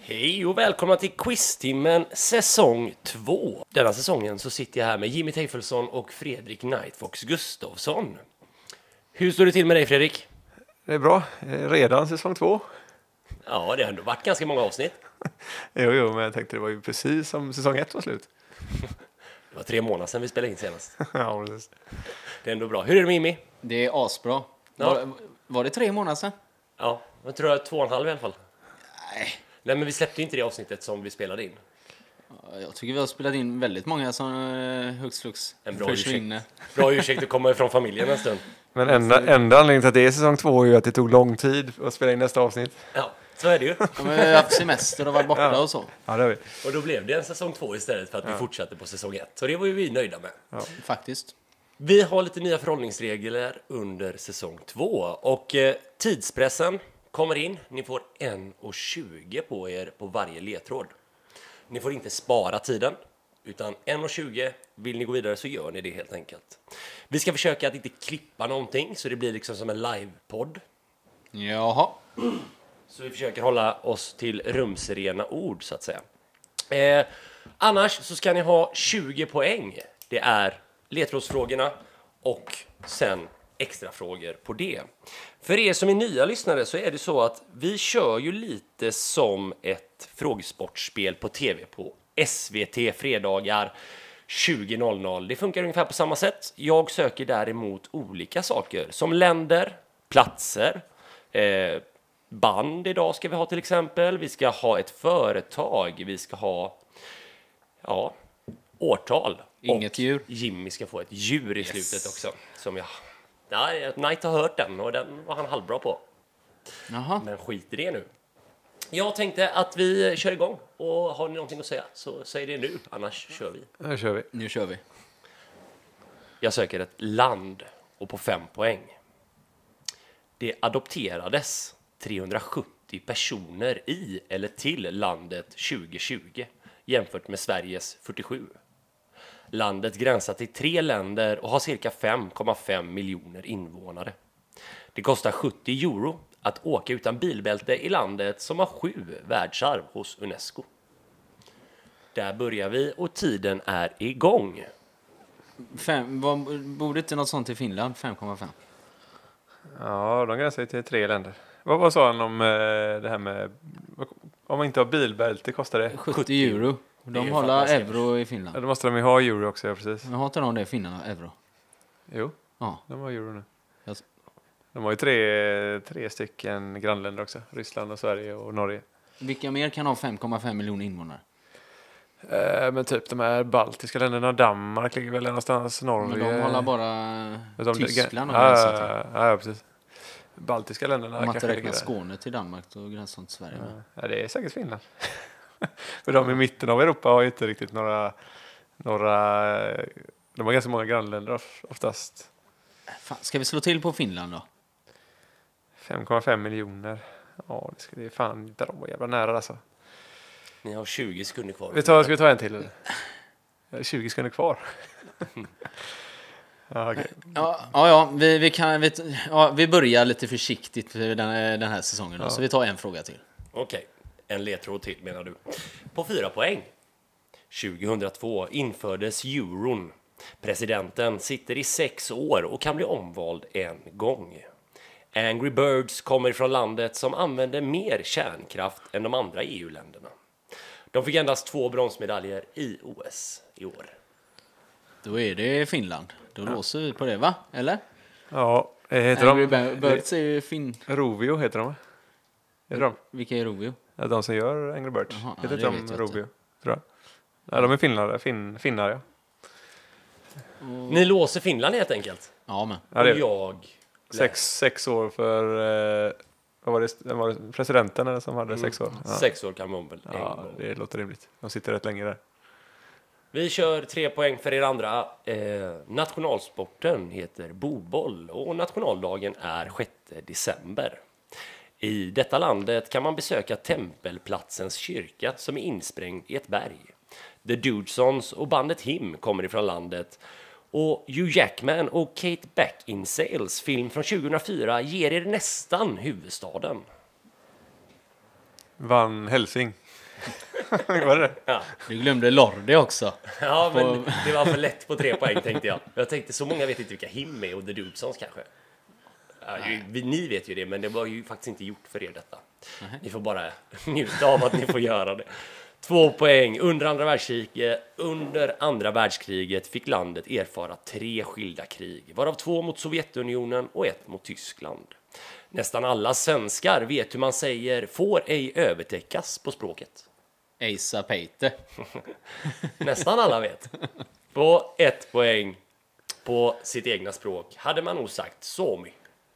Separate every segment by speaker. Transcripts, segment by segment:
Speaker 1: Hej och välkomna till Quiztimmen säsong 2. Denna säsongen så sitter jag här med Jimmy Teifelsson och Fredrik Nightfox Gustafsson. Hur står det till med dig Fredrik?
Speaker 2: Det är bra. Eh, Redan säsong två.
Speaker 1: Ja, det har ändå varit ganska många avsnitt.
Speaker 2: Jo, jo, men jag tänkte det var ju precis som säsong ett var slut.
Speaker 1: Det var tre månader sedan vi spelade in senast.
Speaker 2: ja, precis.
Speaker 1: Det är ändå bra. Hur är det med Jimmy?
Speaker 3: Det är asbra.
Speaker 1: Ja.
Speaker 3: Var, var det tre månader sedan?
Speaker 1: Ja, jag tror jag är två och en halv i alla fall.
Speaker 3: Nej.
Speaker 1: Nej, men vi släppte ju inte det avsnittet som vi spelade in.
Speaker 3: Jag tycker vi har spelat in väldigt många som eh, hux flux
Speaker 1: En bra
Speaker 3: försvinner.
Speaker 1: Bra ursäkt att komma ifrån familjen en stund.
Speaker 2: Men enda, enda anledningen till att det är säsong två är ju att det tog lång tid att spela in nästa avsnitt.
Speaker 1: Ja, så är det ju.
Speaker 3: De har haft semester och varit borta
Speaker 2: Ja.
Speaker 3: och så.
Speaker 2: Ja, det har vi.
Speaker 1: Och då blev det en säsong två istället för att vi fortsatte på säsong ett. Så det var ju vi nöjda med.
Speaker 3: Faktiskt.
Speaker 1: Vi har lite nya förhållningsregler under säsong två och eh, tidspressen kommer in. Ni får 1.20 på er på varje ledtråd. Ni får inte spara tiden utan 1.20 vill ni gå vidare så gör ni det helt enkelt. Vi ska försöka att inte klippa någonting så det blir liksom som en livepodd.
Speaker 3: Jaha.
Speaker 1: Så vi försöker hålla oss till rumsrena ord så att säga. Eh, annars så ska ni ha 20 poäng. Det är ledtrådsfrågorna och sen extra frågor på det. För er som är nya lyssnare så är det så att vi kör ju lite som ett frågesportspel på tv på SVT fredagar 20.00. Det funkar ungefär på samma sätt. Jag söker däremot olika saker som länder, platser, eh, band idag ska vi ha till exempel. Vi ska ha ett företag. Vi ska ha ja, årtal.
Speaker 3: Inget
Speaker 1: och
Speaker 3: djur.
Speaker 1: Jimmy ska få ett djur i slutet också. Som jag... Nej, Knight har hört den och den var han halvbra på.
Speaker 3: Jaha.
Speaker 1: Men skit i det nu. Jag tänkte att vi kör igång och har ni någonting att säga så säg det nu, annars kör vi.
Speaker 2: Nu kör vi.
Speaker 3: Nu kör vi.
Speaker 1: Jag söker ett land och på fem poäng. Det adopterades 370 personer i eller till landet 2020 jämfört med Sveriges 47. Landet gränsar till tre länder och har cirka 5,5 miljoner invånare. Det kostar 70 euro att åka utan bilbälte i landet som har sju världsarv hos Unesco. Där börjar vi och tiden är igång.
Speaker 3: Fem, var, borde inte något sånt i Finland? 5,5.
Speaker 2: Ja, de gränsar ju till tre länder. Vad, vad sa han om eh, det här med... Om man inte har bilbälte kostar det?
Speaker 3: 70 euro.
Speaker 1: Det är
Speaker 3: De
Speaker 1: ju
Speaker 3: håller
Speaker 1: fantastiskt.
Speaker 3: euro i
Speaker 2: Ja,
Speaker 3: Finland.
Speaker 2: då måste de ju ha euro också, ja precis.
Speaker 3: Men har inte de det, finnarna, euro?
Speaker 2: Jo,
Speaker 3: Ja.
Speaker 2: de har euro nu.
Speaker 3: Jag-
Speaker 2: De har ju tre, tre stycken grannländer också. Ryssland och Sverige och Norge.
Speaker 3: Vilka mer kan ha 5,5 miljoner invånare?
Speaker 2: Eh, men typ de här baltiska länderna, Danmark ligger väl någonstans, Norge.
Speaker 3: Men de håller bara
Speaker 2: Utom det-
Speaker 3: Tyskland och
Speaker 2: ja,
Speaker 3: gränsar till.
Speaker 2: ja, ja, ja, precis. Baltiska länderna
Speaker 3: alltså. Om man inte
Speaker 2: kanske
Speaker 3: räknar
Speaker 2: ligger där.
Speaker 3: Skåne till Danmark, då gränsar inte Sverige. men-
Speaker 2: Ja, det är säkert Finland. För de i mitten av Europa har ju inte riktigt några, några... De har ganska många grannländer of- oftast.
Speaker 3: Fan, ska vi slå till på Finland då?
Speaker 2: 5,5 miljoner. Ja, det ska det är fan inte de var jävla nära alltså.
Speaker 1: Ni har 20 sekunder kvar.
Speaker 2: Vi tar, ska vi ta en till? eller? Jag har 20 sekunder kvar. ja, okej.
Speaker 3: Ja, ja, ja, vi, vi, kan, vi, ja vi börjar lite försiktigt för den, den här säsongen då, så vi tar en fråga till.
Speaker 1: Okej, en ledtråd till menar du. På fyra poäng. 2002 infördes euron. Presidenten sitter i sex år och kan bli omvald en gång. Angry Birds kommer från landet som använder mer kärnkraft än de andra EU-länderna. De fick endast två bronsmedaljer i OS i år.
Speaker 3: Då är det Finland. Då låser vi på det, va? Eller?
Speaker 2: ja eh, heter
Speaker 3: Angry
Speaker 2: de...
Speaker 3: Bi- Birds är ju fin...
Speaker 2: Rovio heter de va? Är det de?
Speaker 3: Vilka är Rovio?
Speaker 2: Ja, de som gör Angry Birds.
Speaker 3: Jaha,
Speaker 2: heter
Speaker 3: ja,
Speaker 2: inte
Speaker 3: det vet
Speaker 2: de
Speaker 3: jag
Speaker 2: Rovio? Tror jag. Nej, de är finnare. Fin, finnar, ja.
Speaker 1: Ni låser Finland helt enkelt.
Speaker 3: Ja, men.
Speaker 2: Mm. ja det
Speaker 1: Och
Speaker 2: är,
Speaker 1: jag...
Speaker 2: sex, sex år för... Eh, vad var det? Vem var det? Presidenten eller som
Speaker 3: Mm.
Speaker 2: hade sex år? Ja.
Speaker 1: Sex år kan man väl en
Speaker 2: ja,
Speaker 1: gång.
Speaker 2: det låter rimligt. De sitter rätt länge där.
Speaker 1: Vi kör tre poäng för er andra. Eh, nationalsporten heter boboll och nationaldagen är 6 december. I detta landet kan man besöka tempelplatsens kyrka som är insprängd i ett berg. The Dudesons och bandet Him kommer ifrån landet Och Hugh Jackman och Kate Beckinsales film från 2004 ger er nästan huvudstaden.
Speaker 2: Van Helsing. Var det det?
Speaker 3: Du glömde Lordi också.
Speaker 1: Ja, men det var för lätt på tre poäng tänkte jag. Jag tänkte så många vet inte vilka Him är och The Dubsons kanske. Ja, ju, vi- ni vet ju det, men det var ju faktiskt inte gjort för er detta. Ni får bara njuta av att ni får göra det. Två poäng. Under andra, världskriget, under andra världskriget fick landet erfara tre skilda krig, varav två mot Sovjetunionen och ett mot Tyskland. Nästan alla svenskar vet hur man säger får ej övertäckas på språket.
Speaker 3: Asa Peite.
Speaker 1: Nästan alla vet. På ett poäng på sitt egna språk hade man nog sagt Suomi.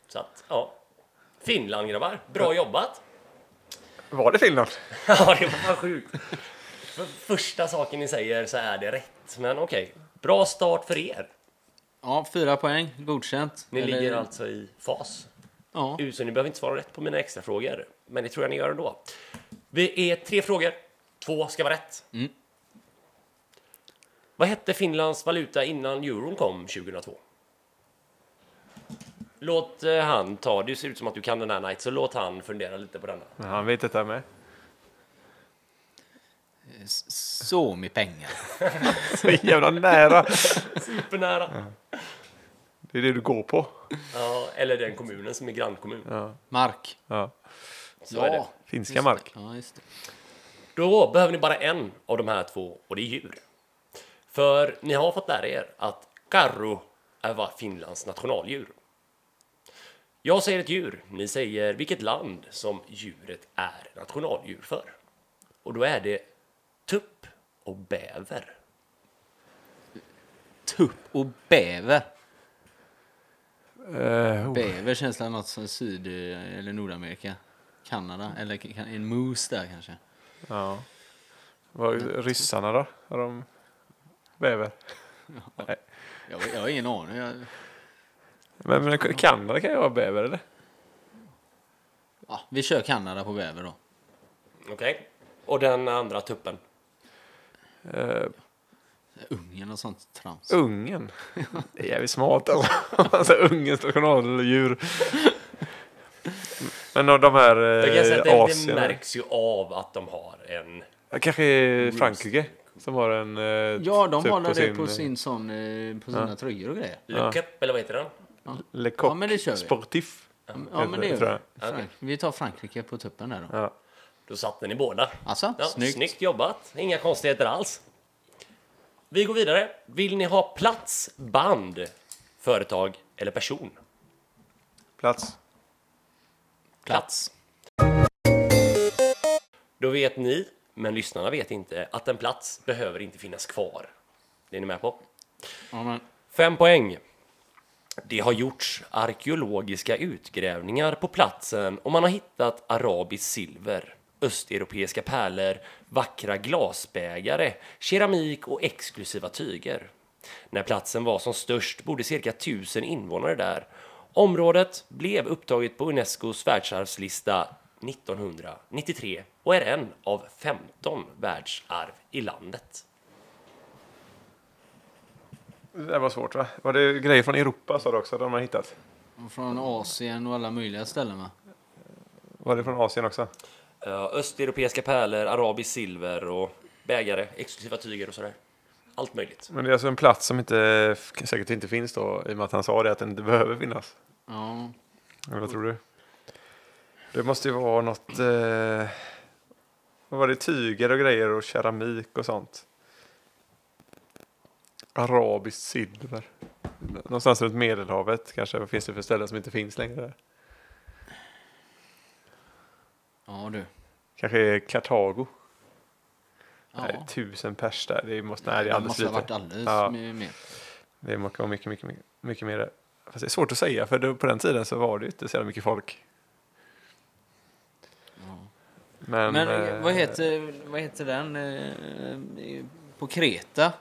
Speaker 1: Så att, ja. Finland grabbar, bra jobbat!
Speaker 2: Var det Finland?
Speaker 1: Ja, det var fan sjukt. För första saken ni säger så är det rätt, men okej. Bra start för er.
Speaker 3: Ja, fyra poäng. Godkänt.
Speaker 1: Ni
Speaker 3: Eller-
Speaker 1: ligger alltså i fas.
Speaker 3: Ja.
Speaker 1: Så ni behöver inte svara rätt på mina extra frågor. men det tror jag ni gör ändå. Vi är tre frågor. Två ska vara rätt. Vad hette Finlands valuta innan euron kom 2002? Låt eh, han ta, det ser ut som att du kan den här night, så låt han fundera lite på denna.
Speaker 2: Men han vet detta med.
Speaker 3: S- Så mycket pengar.
Speaker 2: Så jävla nära.
Speaker 1: Supernära!
Speaker 2: Det är det du går på.
Speaker 1: Ja, eller den kommunen som är grannkommun.
Speaker 3: Mark.
Speaker 2: Ja.
Speaker 1: Så är det.
Speaker 2: Finska
Speaker 3: Just
Speaker 2: mark.
Speaker 3: det. Ja, just det.
Speaker 1: Då behöver ni bara en av de här två och det är djur. För ni har fått lära er att karro är vad Finlands nationaldjur. Jag säger ett djur, ni säger vilket land som djuret är nationaldjur för. Och då är det tupp och bäver.
Speaker 3: Tupp och bäver.
Speaker 2: Eh, oh.
Speaker 3: Bäver känns det något som Syd eh, eller Nordamerika. Kanada. Eller k- en moose där kanske.
Speaker 2: Ja. Vad
Speaker 3: Mm.
Speaker 2: ryssarna då? Har de bäver?
Speaker 3: Jag, jag har ingen aning. Jag,
Speaker 2: Men, men Kanada kan ju vara bäver eller?
Speaker 3: ja, vi kör Kanada på bäver då.
Speaker 1: Okej? Och den andra tuppen.
Speaker 2: Eh,
Speaker 3: Ungern och sånt trams.
Speaker 2: Ungen. Det är jävligt smart alltså. alltså Ungerns nationaldjur. Men av de här
Speaker 1: Jag kan säga
Speaker 2: eh,
Speaker 1: att det, det
Speaker 2: Asien.
Speaker 1: märks ju av att de har en...
Speaker 2: Kanske Frankrike som har en. Eh,
Speaker 3: Ja, de
Speaker 2: typ
Speaker 3: har det på sin sån, eh, på sina tröjor och grejer.
Speaker 1: Look up, eller vad heter den?
Speaker 2: Le Coq
Speaker 3: Ja, men det kör vi.
Speaker 2: Sportif.
Speaker 3: Ja, men det
Speaker 2: tror
Speaker 3: gör
Speaker 2: jag.
Speaker 3: vi. Frank- Vi tar Frankrike på tuppen där då.
Speaker 2: Ja.
Speaker 1: Då satte ni båda.
Speaker 3: Alltså,
Speaker 1: Ja, snyggt.
Speaker 3: snyggt.
Speaker 1: jobbat. Inga konstigheter alls. Vi går vidare. Vill ni ha plats, band, företag eller person?
Speaker 2: Plats.
Speaker 1: Plats. Då vet ni, men lyssnarna vet inte, att en plats behöver inte finnas kvar. Det är ni med på?
Speaker 3: Ja, men,
Speaker 1: Fem poäng. Det har gjorts arkeologiska utgrävningar på platsen och man har hittat arabiskt silver, östeuropeiska pärlor, vackra glasbägare, keramik och exklusiva tyger. När platsen var som störst bodde cirka tusen invånare där. Området blev upptaget på Unescos världsarvslista 1993 och är en av 15 världsarv i landet.
Speaker 2: Det där var svårt va? Var det grejer från Europa sa du också? De har hittat.
Speaker 3: och från Asien och alla möjliga ställen va?
Speaker 2: Var det från Asien också?
Speaker 1: Ja, östeuropeiska pärlor, arabiskt silver och bägare, exklusiva tyger och sådär. Allt möjligt.
Speaker 2: Men det är alltså en plats som inte, säkert inte finns då i och med att han sa det att den inte behöver finnas.
Speaker 3: Ja.
Speaker 2: Eller vad tror du? Det måste ju vara något... Eh, vad var det? Tyger och grejer och keramik och sånt. Arabiskt silver. Någonstans runt Medelhavet kanske. Vad finns det för ställen som inte finns längre?
Speaker 3: Ja du.
Speaker 2: Kanske Kartago. Nej,
Speaker 3: Ja.
Speaker 2: tusen pers där. Det måste, nej, det är
Speaker 3: det
Speaker 2: alldeles
Speaker 3: måste ha varit
Speaker 2: lite.
Speaker 3: alldeles
Speaker 2: Ja.
Speaker 3: mer. mer.
Speaker 2: Det måste vara mycket, mycket, mycket, mycket mer. Fast det är svårt att säga för då- på den tiden så var det ju inte så jävla mycket folk. Men,
Speaker 3: Men
Speaker 2: eh,
Speaker 3: eh, vad, heter, vad heter den? eh, eh, På Kreta?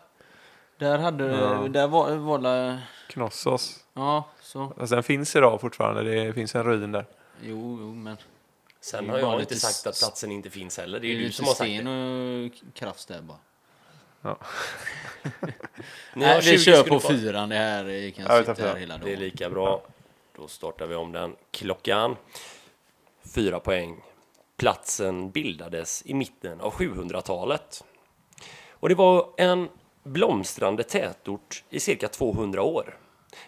Speaker 3: Där hade
Speaker 2: Ja.
Speaker 3: Där var, var la,
Speaker 2: Knossos.
Speaker 3: Ja, så.
Speaker 2: Alltså, den finns idag fortfarande. Det finns en ruin där.
Speaker 3: Jo, jo, men.
Speaker 1: Sen
Speaker 3: Det är
Speaker 1: har
Speaker 3: bara
Speaker 1: jag inte
Speaker 3: lite
Speaker 1: sagt att
Speaker 3: s-
Speaker 1: platsen inte finns heller. Det
Speaker 3: Det
Speaker 1: är
Speaker 3: är
Speaker 1: ju du
Speaker 3: lite
Speaker 1: som har sagt
Speaker 3: sten
Speaker 1: det.
Speaker 3: och krafts där bara.
Speaker 2: Ja.
Speaker 1: Ni har
Speaker 3: Nej,
Speaker 1: 20
Speaker 3: vi kör
Speaker 1: sekunder
Speaker 3: på
Speaker 1: kvar.
Speaker 3: fyran, det här eh, kan
Speaker 2: Ja, vi tar
Speaker 3: sitta här
Speaker 2: fyran.
Speaker 3: hela
Speaker 1: Det är
Speaker 3: dagen.
Speaker 1: lika bra. Då startar vi om den klockan. Fyra poäng. Platsen bildades i mitten av 700-talet. Och det var en blomstrande tätort i cirka 200 år.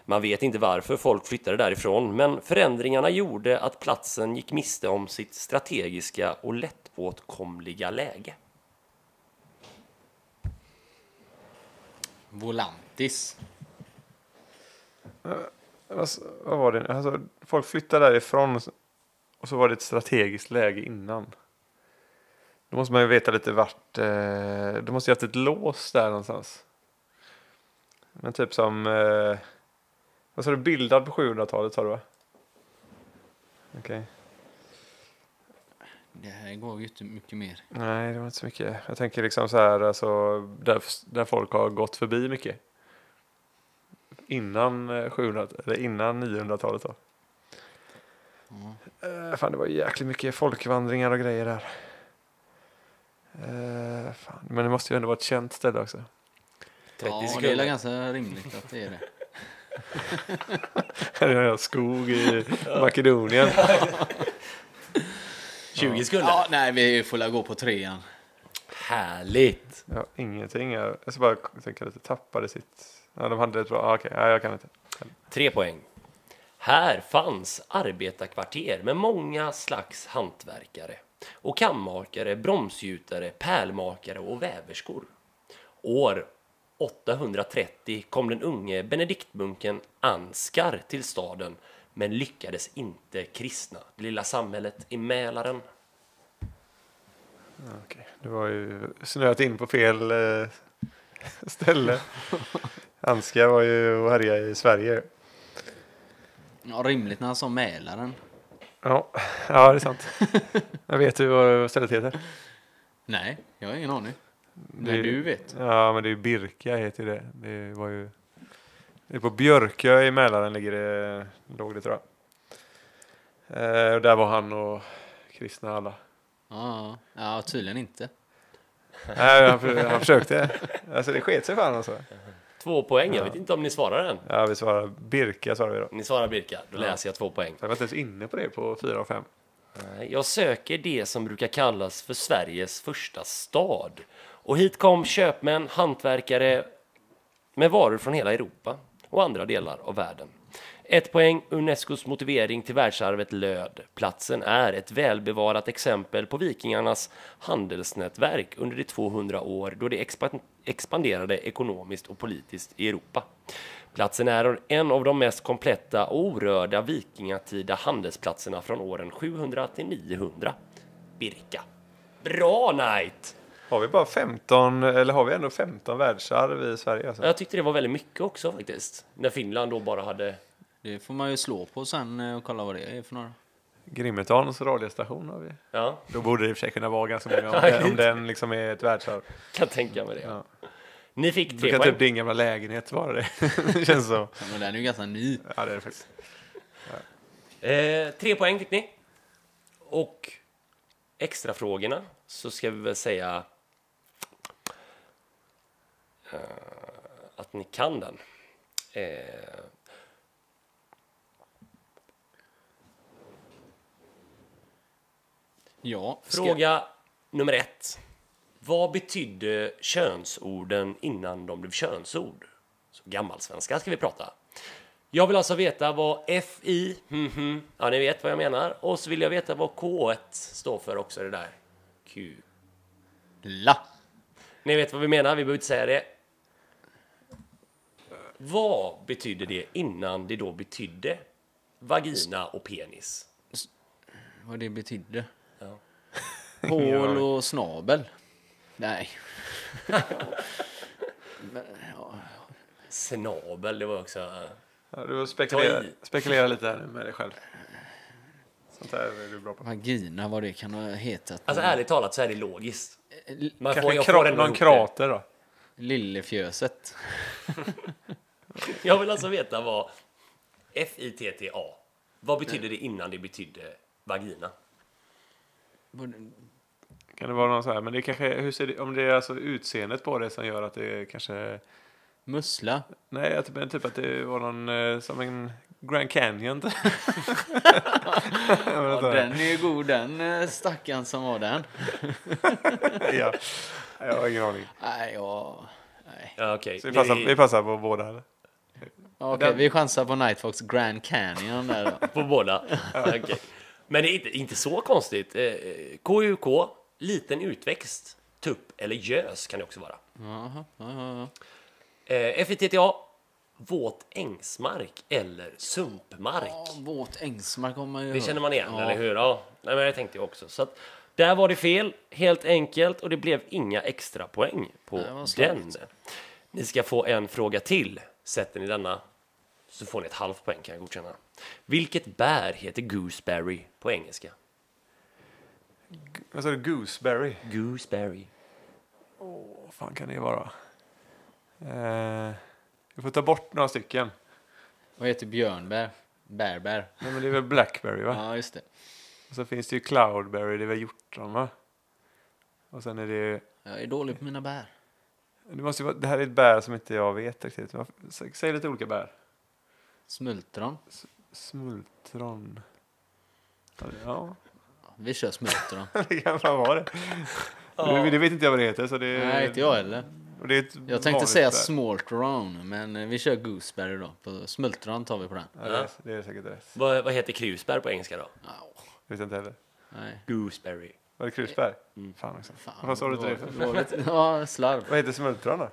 Speaker 1: Man vet inte varför folk flyttade därifrån, men förändringarna gjorde att platsen gick miste om sitt strategiska och lättåtkomliga läge.
Speaker 3: Volantis.
Speaker 2: Alltså, vad var det? Alltså, folk flyttade därifrån och så- och så var det ett strategiskt läge innan. Då måste man ju veta lite vart. Eh, de måste ju haft ett lås där någonstans. Men typ som. Eh, vad sa du? Bildad på 700-talet sa du va? Okej.
Speaker 3: Det här går ju inte mycket mer.
Speaker 2: Nej, det var inte så mycket. Jag tänker liksom så här, alltså, där, där folk har gått förbi mycket. Innan eh, 700, eller innan 900-talet då. Eh, fan, det var jäkligt mycket folkvandringar och grejer där. Eh, fan. Men det måste ju ändå vara ett känt ställe också.
Speaker 1: 30
Speaker 3: ja, det är väl
Speaker 1: sekunder.
Speaker 3: ganska rimligt att det är det.
Speaker 2: Här är en skog i Makedonien.
Speaker 1: 20 sekunder.
Speaker 3: Ja, nej, vi får väl gå på trean.
Speaker 1: Härligt!
Speaker 2: Ja, ingenting. här. Jag ska bara tänka lite, tappade sitt... Ja, de hade ett bra... Ah, Okej, nej, jag kan inte.
Speaker 1: Tre poäng. Här fanns arbetarkvarter med många slags hantverkare och kammakare, bromsgjutare, pärlmakare och väverskor. År 830 kom den unge benediktmunken Anskar till staden men lyckades inte kristna det lilla samhället i Mälaren.
Speaker 2: Okej, du har ju snöat in på fel eh, ställe. Anska var ju och härjade i Sverige.
Speaker 3: Ja, rimligt när han sa Mälaren.
Speaker 2: Ja, ja det är sant. Jag vet du vad stället heter?
Speaker 3: Nej, jag har ingen aning. Men
Speaker 2: Det-
Speaker 3: du vet.
Speaker 2: Ja, men det är ju Birka heter det. Det var ju... Det är på Björkö i Mälaren ligger det, låg det tror jag. Eh, och där var han och kristna alla.
Speaker 3: Ja, ja. ja, tydligen inte.
Speaker 2: Nej, han, för- han försökte. Alltså det sket sig fan alltså.
Speaker 1: Två poäng, jag vet inte om ni svarar den.
Speaker 2: Ja, vi svarar Birka svarar vi då.
Speaker 1: Ni svarar Birka, då läser jag två poäng.
Speaker 2: Jag var inte ens inne på det på fyra och fem.
Speaker 1: Nej, Jag söker det som brukar kallas för Sveriges första stad. Och hit kom köpmän, hantverkare med varor från hela Europa och andra delar av världen. Ett poäng, Unescos motivering till världsarvet löd. Platsen är ett välbevarat exempel på vikingarnas handelsnätverk under de 200 år då de expan- expanderade ekonomiskt och politiskt i Europa. Platsen är en av de mest kompletta och orörda vikingatida handelsplatserna från åren 700 till 900. Birka. Bra Knight!
Speaker 2: Har vi bara 15, eller har vi ändå 15 världsarv i Sverige? Alltså?
Speaker 1: Jag tyckte det var väldigt mycket också faktiskt. När Finland då bara hade
Speaker 3: Det får man ju slå på sen eh, och kolla vad det är för några.
Speaker 2: Grimmetans radiostation har vi.
Speaker 1: Ja,
Speaker 2: Då borde det i och för sig kunna vara ganska många om, det, om den liksom är ett världsarv.
Speaker 1: kan tänka mig det.
Speaker 2: Ja.
Speaker 1: Ni fick
Speaker 2: Då
Speaker 1: tre
Speaker 2: kan
Speaker 1: poäng.
Speaker 2: typ din gamla lägenhet vara det. det känns så.
Speaker 3: Ja, Men den är ju ganska ny.
Speaker 2: Ja, det är det faktiskt.
Speaker 1: Eh, tre poäng fick ni. Och extra frågorna så ska vi väl säga eh, att ni kan den. Eh,
Speaker 3: Ja, ska-
Speaker 1: fråga nummer ett. Vad betydde könsorden innan de blev könsord? Så gammalsvenska ska vi prata. Jag vill alltså veta vad FI, mhm, ja ni vet vad jag menar. Och så vill jag veta vad K1 står för också det där. Q.
Speaker 3: La.
Speaker 1: Ni vet vad vi menar, vi behöver inte säga det. Vad betyder det innan det då betydde vagina och penis?
Speaker 3: Vad det betydde.
Speaker 1: Ja.
Speaker 3: Hål och snabel. Nej.
Speaker 1: Snabel, det var också... eh,
Speaker 2: Ja, du spekulerar,
Speaker 1: Ta i.
Speaker 2: spekulerar lite här nu med dig själv. Sånt här är du bra på.
Speaker 3: Vagina, vad det kan ha hetat. Eh,
Speaker 1: Alltså ärligt talat så är det logiskt. Man får,
Speaker 2: Kanske
Speaker 1: jag
Speaker 2: kra-
Speaker 1: får ändå
Speaker 2: någon
Speaker 1: ihop
Speaker 2: krater då?
Speaker 3: Lillefjöset.
Speaker 1: det. Jag vill alltså veta vad FITTA, vad betydde det innan det betydde vagina?
Speaker 3: Vad-
Speaker 2: Kan det vara någon så här, men det kanske, hur ser det, om det är alltså utseendet på det som gör att det kanske,
Speaker 3: Mussla.
Speaker 2: nej, jag typ, typ att det var någon, eh, som en Grand Canyon.
Speaker 3: Ja, den är ju god den eh, stackaren som var den.
Speaker 2: ja. Jag har ingen aning.
Speaker 3: Nej, ja. Nej.
Speaker 1: Ja, okej.
Speaker 2: Så vi passar,
Speaker 1: Ni-
Speaker 2: vi passar på båda. Eller?
Speaker 3: Okej, vi chansar på Nightfox Grand Canyon där då.
Speaker 1: På båda? Okej. Men det är inte, inte så konstigt. Eh, KUK, liten utväxt, tupp eller gös kan det också vara.
Speaker 3: Jaha, ja, ja, ja.
Speaker 1: Eh, FITTA, våt ängsmark eller sumpmark.
Speaker 3: Ja, Våt ängsmark har man ju
Speaker 1: Det
Speaker 3: hört.
Speaker 1: känner man igen,
Speaker 3: ja.
Speaker 1: eller hur? Ja, Nej, men det tänkte jag också. Så att, där var det fel, helt enkelt, och det blev inga extra poäng på
Speaker 3: det var
Speaker 1: den.
Speaker 3: slarvigt.
Speaker 1: Ni ska få en fråga till. Sätter ni denna så får ni ett halvt poäng, kan jag godkänna. Vilket bär heter gooseberry på engelska?
Speaker 2: Vad sa du? Gooseberry?
Speaker 1: Gooseberry.
Speaker 2: Vad fan kan det vara? Eh, vi får ta bort några stycken.
Speaker 3: Vad heter björnbär? Bärbär.
Speaker 2: Nej, men det är väl Blackberry va?
Speaker 3: Ja, just det.
Speaker 2: Och så finns det ju Cloudberry, det är väl hjortron va? Och sen är det ju...
Speaker 3: Jag är dålig på mina bär.
Speaker 2: Det, måste ju vara, det här är ett bär som inte jag vet riktigt. Varför- sä- Säg lite olika bär.
Speaker 3: Smultron.
Speaker 2: Smultron. Ja, det- Ja,
Speaker 3: Vi kör smultron.
Speaker 2: det kan fan vara det. Det, det vet inte jag vad det heter. Så det,
Speaker 3: Nej, inte jag heller.
Speaker 2: Och det är ett
Speaker 3: Jag tänkte
Speaker 2: vanligt
Speaker 3: säga
Speaker 2: bär.
Speaker 3: smultron, men eh, vi kör gooseberry då. På smultron tar vi på den.
Speaker 2: Ja, det, är, det är säkert rätt.
Speaker 1: Vad, vad heter krusbär på engelska då?
Speaker 3: Au,
Speaker 2: Jag vet inte heller.
Speaker 3: Nej,
Speaker 1: Gooseberry.
Speaker 2: Var det krusbär? Fan också.
Speaker 3: Mm. fan.
Speaker 2: Vad sa du till det?
Speaker 3: Dåligt-
Speaker 2: för?
Speaker 3: dåligt. Ja, slarv.
Speaker 2: Vad heter smultron då?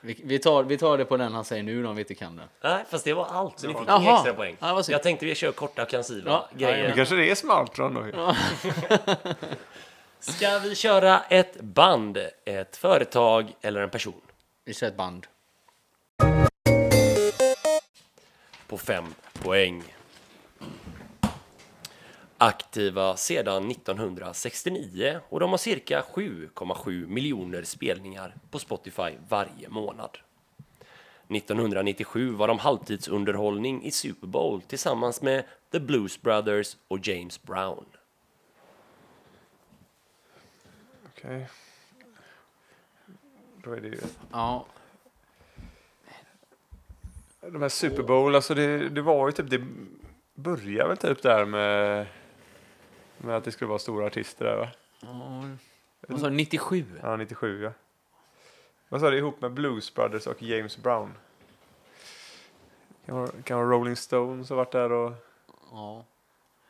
Speaker 3: Vi, vi, tar, vi tar det på den han säger nu då, om vi inte kan den.
Speaker 1: Nej, fast det var allt. Så ni fick
Speaker 3: allt.
Speaker 1: inga
Speaker 3: Jaha.
Speaker 1: extra poäng.
Speaker 3: Ja, vad synd.
Speaker 1: jag tänkte vi kör korta, kansiva
Speaker 3: Ja,
Speaker 1: grejer.
Speaker 2: Det kanske det är smaltron då. Ja.
Speaker 1: Ska vi köra ett band, ett företag eller en person?
Speaker 3: Vi kör ett band.
Speaker 1: På fem poäng. Aktiva sedan 1969 och de har cirka 7,7 miljoner spelningar på Spotify varje månad. 1997 var de halvtidsunderhållning i Super Bowl tillsammans med The Blues Brothers och James Brown.
Speaker 2: Okej. Då är det ju...
Speaker 3: Ja,
Speaker 2: De här Super Bowl, alltså det, det var ju typ... Det började väl typ där med... Med att det skulle vara stora artister där va?
Speaker 3: ja. Vad sa du, 97?
Speaker 2: Ja, 97 ja. Vad sa du? Ihop med Blues Brothers och James Brown. Kan vara, kan vara Rolling Stones har varit där och...
Speaker 3: Ja.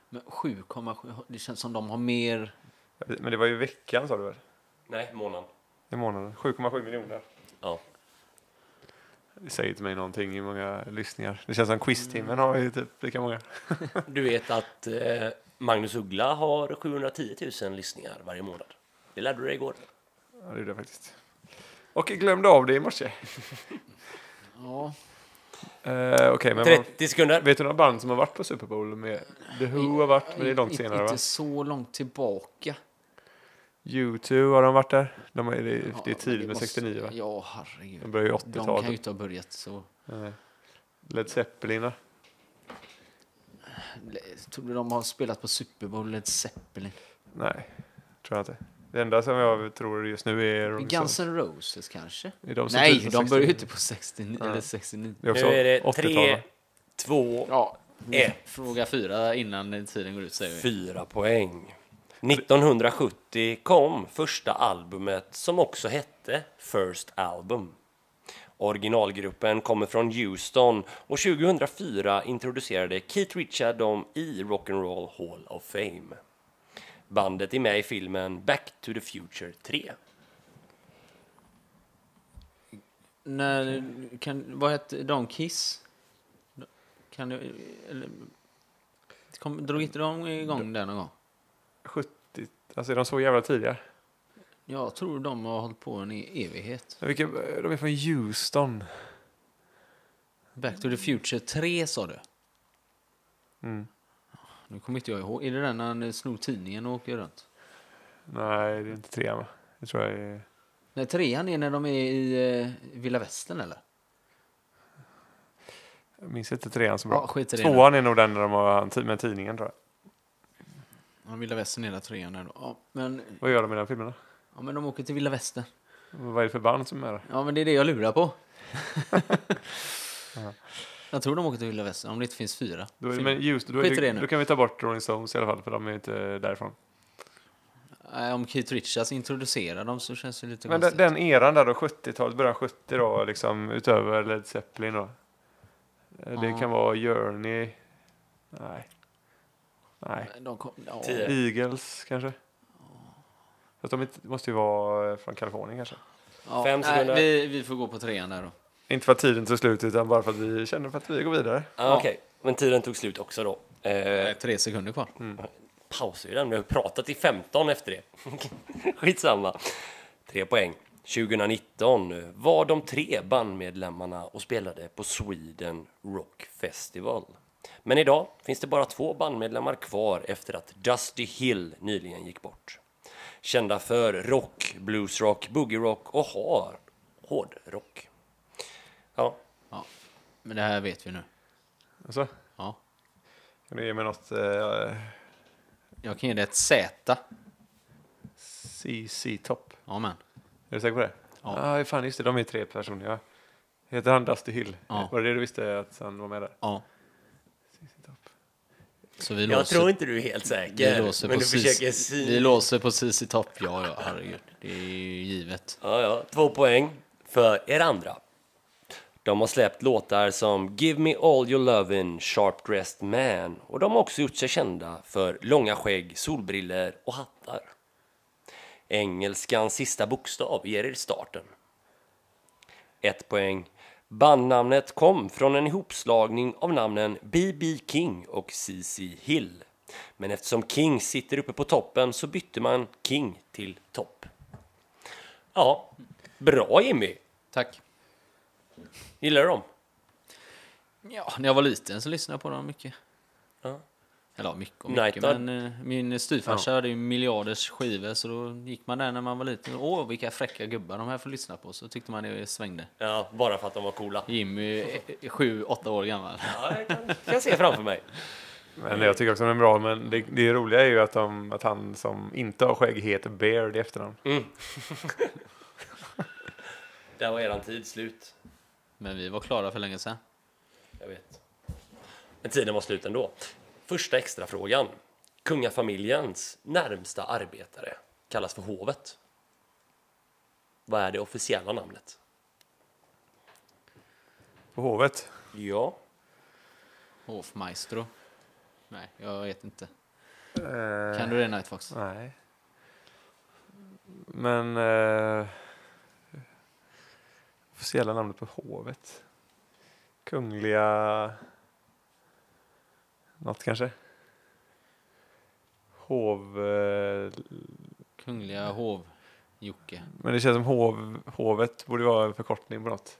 Speaker 3: Men 7,7, det känns som de har mer...
Speaker 2: Men det var ju veckan sa du väl?
Speaker 1: Nej, månaden.
Speaker 2: I månaden. 7,7 miljoner.
Speaker 1: Ja.
Speaker 2: Det säger inte mig någonting i många lyssningar. Det känns som quiztimmen har ju typ lika många.
Speaker 1: Du vet att eh, Magnus Uggla har 710 000 lyssningar varje månad. Det lärde du dig igår.
Speaker 2: Ja, det gjorde jag faktiskt. Och jag glömde av det i morse.
Speaker 3: Ja.
Speaker 2: Eh, Okej, men
Speaker 1: 30
Speaker 2: vad-
Speaker 1: sekunder.
Speaker 2: vet du några band som har varit på Super Bowl? Med The Who har varit, men det är långt
Speaker 3: Inte-
Speaker 2: senare va?
Speaker 3: Inte så långt tillbaka.
Speaker 2: U2 har de varit där. De har, det, är-
Speaker 3: Ja,
Speaker 2: det är tidigt
Speaker 3: men
Speaker 2: med
Speaker 3: måste-
Speaker 2: 69 va?
Speaker 3: Ja,
Speaker 2: De
Speaker 3: herregud.
Speaker 2: börjar ju
Speaker 3: De kan ju
Speaker 2: 80-talet.
Speaker 3: inte ha börjat så.
Speaker 2: Nej. Led Zeppelin va?
Speaker 3: Tror du de har spelat på Super Bowl Led Zeppelin?
Speaker 2: Nej, tror jag inte. Det enda som jag tror just nu är Rolling
Speaker 3: Guns
Speaker 2: Stones.
Speaker 3: N' Roses kanske?
Speaker 2: Är de som tidigt på
Speaker 3: Nej, de
Speaker 2: 69?
Speaker 3: började ju inte på 69.
Speaker 2: Nej.
Speaker 3: Eller 69.
Speaker 2: Det
Speaker 1: Nu
Speaker 2: är också
Speaker 1: är det
Speaker 2: 80-tal, va?
Speaker 1: 3, 2,
Speaker 3: Ja.
Speaker 1: Ett.
Speaker 3: Fråga fyra innan tiden går ut säger vi.
Speaker 1: 4 poäng. 1970 kom första albumet som också hette First Album. Originalgruppen kommer från Houston och 2004 introducerade Keith Richard dem i Rock'n'Roll Hall of Fame. Bandet är med i filmen Back to the Future 3.
Speaker 3: När, kan, vad hette de? Kiss? Kan du... Eller, kom, drog inte de igång den någon gång?
Speaker 2: 70, alltså är de så jävla tidiga?
Speaker 3: Jag tror de har hållit på en i evighet.
Speaker 2: Men Vilka, de är från Houston.
Speaker 3: Back to the Future 3 sa du?
Speaker 2: Mm.
Speaker 3: Nu kommer inte jag ihåg. Är det den när han eh, snor tidningen och åker runt?
Speaker 2: Nej, det är inte trean va? Det tror jag är...
Speaker 3: Nej, trean är när de är i eh, Villa Västern eller?
Speaker 2: Jag minns inte trean så bra.
Speaker 3: Ja, skit i det nu.
Speaker 2: Tvåan är nog den där de har han- med tidningen tror jag.
Speaker 3: de Vilda Västern hela trean där då. Ja, men,
Speaker 2: Vad gör de i den filmen då?
Speaker 3: ja, men de åker till Vilda Västern.
Speaker 2: Vad är det för band som är där?
Speaker 3: Ja, men det är det jag lurar på. jag tror de åker till Vilda Västern, om det inte finns fyra.
Speaker 2: Då, är det,
Speaker 3: filmer.
Speaker 2: men just, då, är
Speaker 3: Skit i
Speaker 2: det,
Speaker 3: det nu.
Speaker 2: då kan vi ta bort Rolling Stones i alla fall, för de är inte därifrån.
Speaker 3: Nej, om Keith Richards introducerar dem så känns det lite
Speaker 2: Men den,
Speaker 3: konstigt.
Speaker 2: den eran där då, 70-talet, början 70 då, liksom utöver Led Zeppelin då. Eh, Det
Speaker 3: Ja.
Speaker 2: kan vara Journey. Nej. Nej.
Speaker 3: De kom, ja.
Speaker 1: Tio.
Speaker 2: Eagles kanske. Fast de inte, måste ju vara eh, från Kalifornien kanske.
Speaker 3: Ja,
Speaker 1: Fem
Speaker 3: nej,
Speaker 1: sekunder.
Speaker 3: vi, vi får gå på trean där då.
Speaker 2: Inte för att tiden tog slut utan bara för att vi känner för att vi går vidare.
Speaker 1: Ah, Okej, men tiden tog slut också då. Eh,
Speaker 3: Nej, tre sekunder kvar.
Speaker 1: pausar ju den, vi har pratat i 15 efter det. Skitsamma. Tre poäng. 2019 var de tre bandmedlemmarna och spelade på Sweden Rock Festival. Men idag finns det bara två bandmedlemmar kvar efter att Dusty Hill nyligen gick bort. Kända för rock, bluesrock, boogie-rock och har hårdrock. Ja,
Speaker 3: Ja. Men det här vet vi nu.
Speaker 2: Alltså,
Speaker 3: Ja.
Speaker 2: kan du ge mig något eh,
Speaker 3: Jag kan ge dig ett Z.
Speaker 2: CC Top?
Speaker 3: Ja, men.
Speaker 2: Är du säker på det?
Speaker 3: Ja.
Speaker 2: ah, fan just det, de är tre personer. Ja. Heter han Dusty Hill?
Speaker 3: Ja.
Speaker 2: Var det det du visste att han var med där?
Speaker 3: Ja. Så vi
Speaker 1: jag
Speaker 3: låser,
Speaker 1: tror inte du är helt
Speaker 3: vi
Speaker 1: säker,
Speaker 3: låser
Speaker 1: men
Speaker 3: på
Speaker 1: du försöker
Speaker 3: CC.
Speaker 1: syna
Speaker 3: Vi låser på CC Topp. Ja, ja, herregud. Det är ju givet.
Speaker 1: Ja, ja. Två poäng för er andra. De har släppt låtar som Give Me All Your Lovin', Sharp Dressed Man och de har också gjort sig kända för långa skägg, solbriller och hattar. Engelskans sista bokstav ger er starten. Ett poäng. Bandnamnet kom från en ihopslagning av namnen B.B. King och C.C. Hill. Men eftersom King sitter uppe på toppen så bytte man King till Topp. Ja, bra Jimmy.
Speaker 3: Tack.
Speaker 1: Gillar du dem?
Speaker 3: Ja, när jag var liten så lyssnade jag på dem mycket.
Speaker 1: Ja.
Speaker 3: Eller ja, mycket och
Speaker 1: Night
Speaker 3: mycket.
Speaker 1: Dog.
Speaker 3: Men eh, min styvfarsa hade ju miljarders skivor så då gick man där när man var liten. Åh, vilka fräcka gubbar de här får lyssna på. Så tyckte man det svängde.
Speaker 1: Ja, bara för att de var coola.
Speaker 3: Jimmy är- är sju, åtta år gammal.
Speaker 1: Ja, jag kan, kan se framför mig.
Speaker 2: Men jag tycker också att de är bra, men det, det roliga är ju att, de, att han som inte har skägg heter Beard i efternamn.
Speaker 1: Där var eran tid slut.
Speaker 3: Men vi var klara för länge sedan.
Speaker 1: Jag vet. Men tiden var slut ändå. Första extrafrågan. Kungafamiljens närmsta arbetare kallas för hovet. Vad är det officiella namnet?
Speaker 2: På hovet.
Speaker 1: Ja.
Speaker 3: Hofmaestro. Nej, jag vet inte.
Speaker 2: Eh,
Speaker 3: Kan du det Nightfox?
Speaker 2: Nej. Men... Eh, officiella namnet på hovet. Kungliga... Något kanske? Hov... Eh,
Speaker 3: Kungliga hov-Jocke.
Speaker 2: men det känns som hov, hovet borde vara en förkortning på något.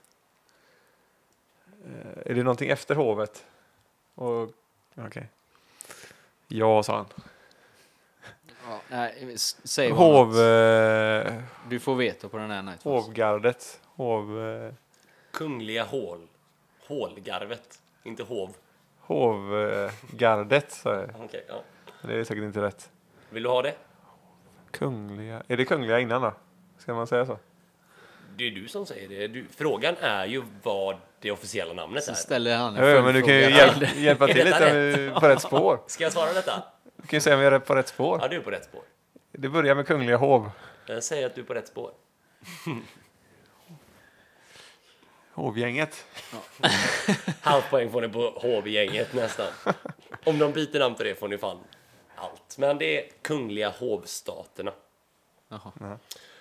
Speaker 2: Eh, är det någonting efter hovet? Och- Okej. Ja, sa han.
Speaker 3: Ja, nej, s- säg vad
Speaker 2: Hov...
Speaker 3: något.
Speaker 2: Eh,
Speaker 3: Du får veto på den här Nightfox.
Speaker 2: Hovgardet. Hov, eh,
Speaker 1: Kungliga hål. Hålgarvet. Inte hov.
Speaker 2: hovgardet, sa jag.
Speaker 1: Okej, ja.
Speaker 2: Det är säkert inte rätt.
Speaker 1: Vill du ha det?
Speaker 2: Kungliga. Är det kungliga innan då? Ska man säga så?
Speaker 1: Det är du som säger det. Du, frågan är ju vad det officiella namnet
Speaker 3: Sen
Speaker 1: är.
Speaker 3: ställer han en
Speaker 2: Ja, ja, men du kan ju
Speaker 3: följdfråga.
Speaker 2: hjälp, hjälpa
Speaker 1: Är
Speaker 2: till
Speaker 1: detta
Speaker 2: lite om vi är på rätt spår.
Speaker 1: Ska jag svara detta?
Speaker 2: Du kan ju säga om vi är på rätt
Speaker 1: Ja,
Speaker 2: spår.
Speaker 1: du är på rätt spår.
Speaker 2: Det börjar med kungliga hov.
Speaker 1: Jag säger att du är på rätt spår.
Speaker 2: Hovgänget.
Speaker 1: Halvt poäng får ni på HV-gänget nästan. Om de byter namn till det får ni fan allt. Men det är Kungliga Hovstaterna.
Speaker 3: Jaha.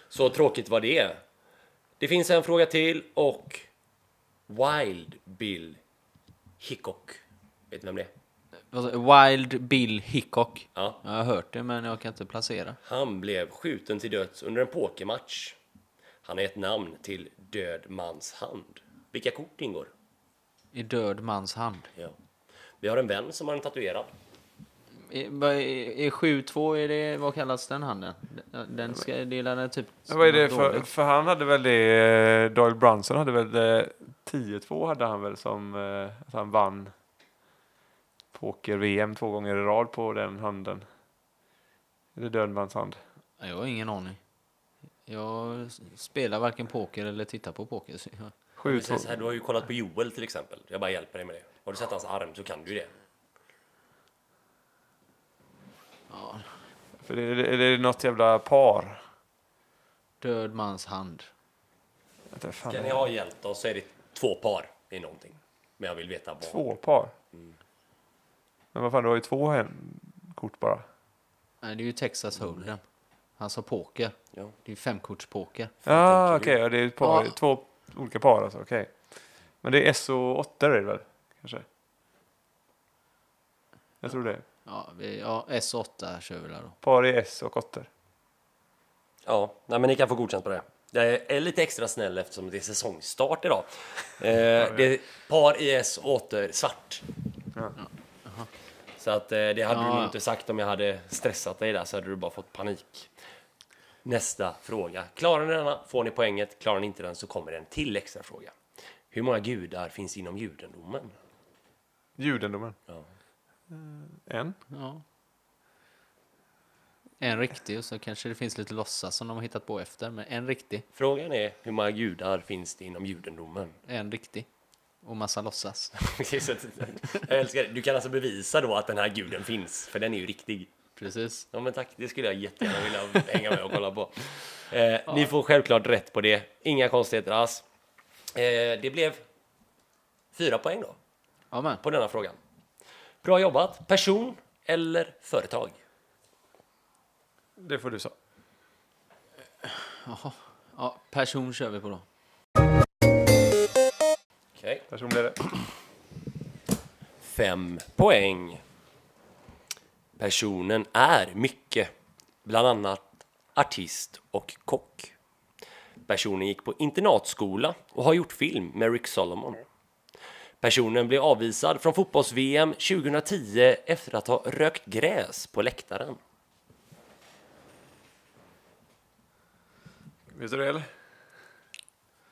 Speaker 1: Så tråkigt var det. Det finns en fråga till och Wild Bill Hickok. Vet ni vem det är?
Speaker 3: Vad sa- Wild Bill Hickok.
Speaker 1: Ja.
Speaker 3: Jag har hört det men jag kan inte placera.
Speaker 1: Han blev skjuten till döds under en pokermatch. Han är ett namn till Död mans hand. Vilka kort ingår?
Speaker 3: I död mans hand.
Speaker 1: Ja. Vi har en vän som har en tatuerad.
Speaker 3: I, vad är- är 7-2, är det, vad kallas den handen? Den- Den ska, det är den typ...
Speaker 2: Vad är det för,
Speaker 3: dåligt.
Speaker 2: för han hade väl det, eh, Doyle Brunson hade väl det, 10-2 hade han väl som eh, att han vann poker-VM två gånger i rad på den handen. Är det död mans hand?
Speaker 3: Nej, Jag har ingen aning. Jag s- spelar varken poker eller tittar på poker. Så jag...
Speaker 1: Du,
Speaker 2: Sju, två.
Speaker 1: säger så här, du har ju kollat på Joel till exempel. Jag bara hjälper dig med det. Har du sett hans arm så kan du ju det.
Speaker 3: Ja,
Speaker 2: För det, är, det, är det något jävla par?
Speaker 3: död mans hand.
Speaker 2: Vänta, fan.
Speaker 1: Ska ni ha hjälp då så är det två par i någonting. Men jag vill veta vad.
Speaker 2: Två par?
Speaker 1: Mm.
Speaker 2: Men vad fan, du har ju två hem- kort bara.
Speaker 3: Nej, det är ju Texas Hold'em. Han sa poker.
Speaker 1: Ja.
Speaker 3: Det är ju femkortspoker.
Speaker 2: Ja, ah,
Speaker 1: tänker
Speaker 2: okej. ja, det är ett par,
Speaker 3: Ja.
Speaker 2: två olika par alltså. Okej. Men det är SO8 är det väl? Kanske? Jag tror det.
Speaker 3: Ja, vi, ja, S8 kör vi där då.
Speaker 2: Par i S och 8.
Speaker 1: Ja, nej, men ni kan få godkänt på det. Jag är lite extra snäll eftersom det är säsongstart idag. Eh, det är par IS åter svart.
Speaker 2: Ja.
Speaker 1: Så att eh, det hade
Speaker 3: Ja,
Speaker 1: du nog
Speaker 3: ja.
Speaker 1: inte sagt om jag hade stressat dig där så hade du bara fått panik. Nästa fråga. Klarar ni denna får ni poänget. Klarar ni inte den så kommer det en till extra fråga. Hur många gudar finns inom judendomen?
Speaker 2: Judendomen. Eh,
Speaker 1: Ja.
Speaker 2: En.
Speaker 3: Ja. En riktig och så kanske det finns lite låtsas som de har hittat på efter. Men en riktig,
Speaker 1: Frågan är hur många gudar finns det inom judendomen?
Speaker 3: en riktig. Och massa låtsas.
Speaker 1: Okej, så att- jag älskar det. Du kan alltså bevisa då att den här guden finns, för den är ju riktig.
Speaker 3: Precis.
Speaker 1: Ja men tack, det skulle jag jättegärna vilja hänga med och kolla på. Eh, Ni får självklart rätt på det, inga konstigheter alls. Eh, det blev fyra poäng då,
Speaker 3: Ja, men.
Speaker 1: på denna frågan. Bra jobbat! Person eller företag?
Speaker 2: Det får du säga.
Speaker 3: Ja, person kör vi på då.
Speaker 1: Okej.
Speaker 2: Person blir det.
Speaker 1: Fem poäng. Personen är mycket, bland annat artist och kock. Personen gick på internatskola och har gjort film med Rick Solomon. Personen blev avvisad från fotbolls-VM 2010 efter att ha rökt gräs på läktaren.
Speaker 2: Vet du det eller?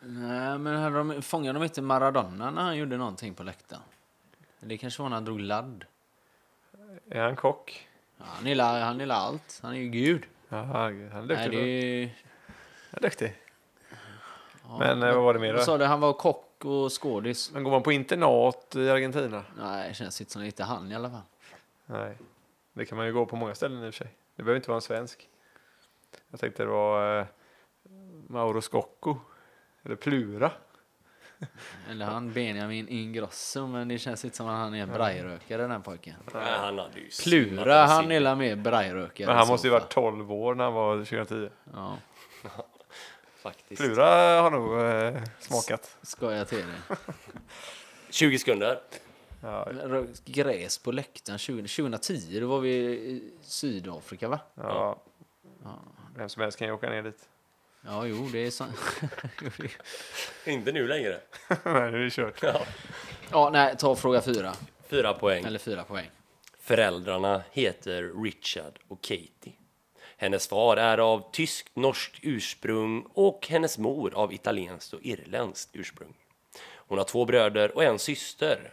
Speaker 3: Nej, men hade de, fångade de inte Maradona när han gjorde någonting på läktaren? Det kanske var när han drog ladd.
Speaker 2: Är han kock?
Speaker 3: Ja, han, gillar, han gillar allt. Han är ju gud.
Speaker 2: Jaha, gud, han är
Speaker 3: Nej,
Speaker 2: duktig.
Speaker 3: det
Speaker 2: då.
Speaker 3: är ju...
Speaker 2: Han är duktig. men eh, vad var det mer
Speaker 3: Vad
Speaker 2: då?
Speaker 3: sa du? Han var kock och skådis.
Speaker 2: Men går man på internat i Argentina?
Speaker 3: Nej, det känns inte som det. Inte han i alla fall.
Speaker 2: Nej. Det kan man ju gå på många ställen i och för sig. Det behöver inte vara en svensk. Jag tänkte det var eh, Mauro Scocco. Eller Plura.
Speaker 3: Eller han Benjamin Ingrosso, men det känns inte som att han är en brajrökare den här pojken.
Speaker 1: Han hade ju simmat
Speaker 3: Plura,
Speaker 1: en
Speaker 3: han
Speaker 1: sim-
Speaker 3: gillar mer brajrökare.
Speaker 2: Men
Speaker 3: i
Speaker 2: han
Speaker 3: så
Speaker 2: måste ju
Speaker 3: fall.
Speaker 2: varit 12 år när han var 2010.
Speaker 3: Ja,
Speaker 1: Faktiskt.
Speaker 2: Plura har nog eh, smakat.
Speaker 3: skoja till det.
Speaker 1: 20 sekunder.
Speaker 2: Ja,
Speaker 3: Rökt Gräs på läktaren 20, 2010, då var vi i Sydafrika va?
Speaker 2: ja. Vem som helst kan ju åka ner dit.
Speaker 3: Ja, jo, det är sant. Jo, det-
Speaker 1: Inte nu längre.
Speaker 2: Nej, nu är det kört.
Speaker 3: ja, nej, ta fråga fyra.
Speaker 1: Fyra poäng.
Speaker 3: Eller fyra poäng.
Speaker 1: Föräldrarna heter Richard och Katie. Hennes far är av tyskt norskt ursprung och hennes mor av italienskt och irländskt ursprung. Hon har två bröder och en syster.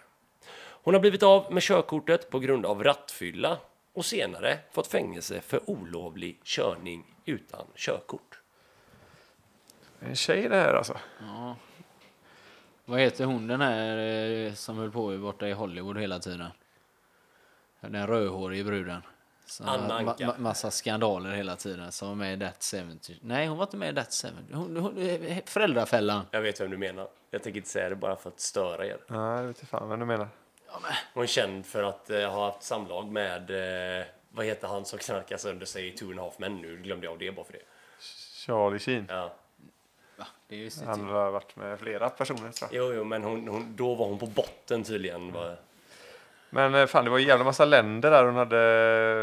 Speaker 1: Hon har blivit av med körkortet på grund av rattfylla och senare fått fängelse för olovlig körning utan körkort.
Speaker 2: En tjej det här alltså.
Speaker 3: Ja. Vad heter hon den här eh, som höll på borta i Hollywood hela tiden? Den rödhårige bruden. Som har
Speaker 1: Anna Anka.
Speaker 3: massa skandaler hela tiden. Som var med i That 70. Nej, hon var inte med i That 70. Hon, hon, eh, föräldrafällan.
Speaker 1: Jag vet vem du menar. Jag tänker inte säga det bara för att störa er.
Speaker 2: Nej, jag vet inte fan vad du menar.
Speaker 1: Hon är känd för att eh, ha haft samlag med, eh, vad heter han som knarkar sönder sig i Two and a half men nu glömde jag det bara för det.
Speaker 2: Charlie Sheen.
Speaker 1: Ja.
Speaker 3: Va? Det är ju typ- sitt-
Speaker 2: Han har varit med flera personer tror jag.
Speaker 1: Jo, jo, men hon, hon, då var hon på botten tydligen. Va?
Speaker 2: Men eh, fan, det var en jävla massa länder där. Hon hade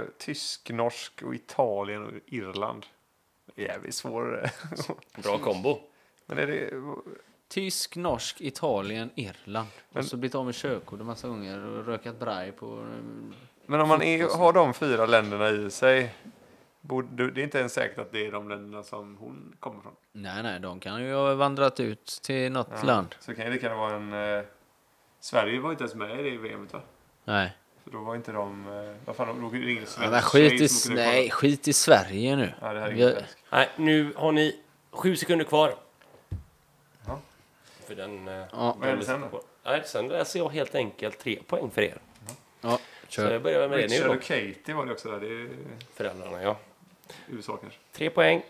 Speaker 2: eh, tysk, norsk och Italien och Irland. Jävligt svår. eh.
Speaker 1: Bra kombo.
Speaker 2: Men är det...
Speaker 3: Tysk, norsk, Italien, Irland.
Speaker 2: Men-
Speaker 3: Och så blivit av med körkort en massa gånger och rökat braj på... eh,
Speaker 2: Men om man är, har de fyra länderna i sig. Borde, det är inte ens säkert att det är de länderna som hon kommer från.
Speaker 3: Nej, nej, de kan ju ha vandrat ut till något land.
Speaker 2: Så kan det lika gärna vara en... Eh, Sverige var inte ens med i det VMet va?
Speaker 3: Nej.
Speaker 2: Så För då var inte de... eh, Vad fan, de låg ju ingen
Speaker 3: Ja,
Speaker 2: svensk
Speaker 3: men skit,
Speaker 2: tjej
Speaker 3: i,
Speaker 2: som kunde kolla.
Speaker 3: nej, skit i Sverige nu.
Speaker 2: Ja, det här är
Speaker 3: Vi-
Speaker 2: ingen svensk.
Speaker 1: Nej, nu har ni sju sekunder kvar.
Speaker 2: Ja.
Speaker 1: För den... eh,
Speaker 3: Ja,
Speaker 2: Vad händer sen då?
Speaker 1: Nej, sen läser jag helt enkelt tre poäng för er.
Speaker 3: ja,
Speaker 1: Så
Speaker 3: kör.
Speaker 1: jag börjar med det nu
Speaker 2: Richard
Speaker 1: då.
Speaker 2: och Katie var det också där. Det är
Speaker 1: Föräldrarna, ja.
Speaker 2: USA kanske.
Speaker 1: Tre poäng.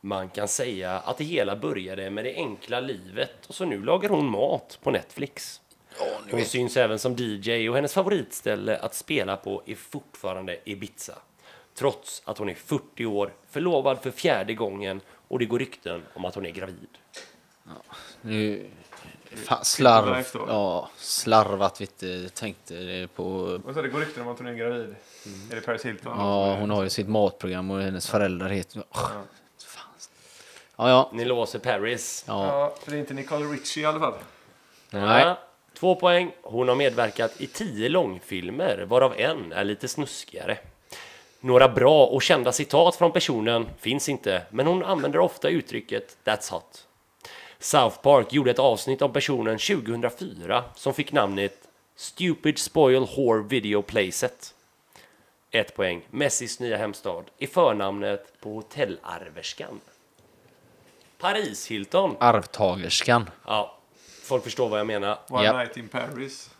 Speaker 1: Man kan säga att det hela började med det enkla livet och så nu lagar hon mat på Netflix. Hon syns även som DJ och hennes favoritställe att spela på är fortfarande Ibiza. Trots att hon är 40 år, förlovad för fjärde gången och det går rykten om att hon är gravid.
Speaker 3: Nu, fan,
Speaker 2: Life
Speaker 3: slarv,
Speaker 2: då.
Speaker 3: ja, slarv att vi inte tänkte på...
Speaker 2: Och så det går rykten om att hon är gravid. Är det Paris Hilton?
Speaker 3: Mm. Ja, hon har ju sitt matprogram och hennes föräldrar heter... Ja, fan. ja. ja.
Speaker 1: Ni låser Paris.
Speaker 3: ja.
Speaker 2: Ja, för det är inte Nicole Richie i alla fall.
Speaker 3: Nej.
Speaker 1: Ja, Två poäng. Hon har medverkat i tio långfilmer, varav en är lite snuskigare. Några bra och kända citat från personen finns inte, men hon använder ofta uttrycket “That's hot”. South Park gjorde ett avsnitt om personen 2004 som fick namnet “Stupid Spoil Whore Video Playset”. Ett poäng. Messis nya hemstad är förnamnet på hotellarverskan. Paris Hilton.
Speaker 3: Arvtagerskan.
Speaker 1: Ja, folk förstår vad jag menar.
Speaker 2: One
Speaker 3: Ja.
Speaker 2: Night in Paris.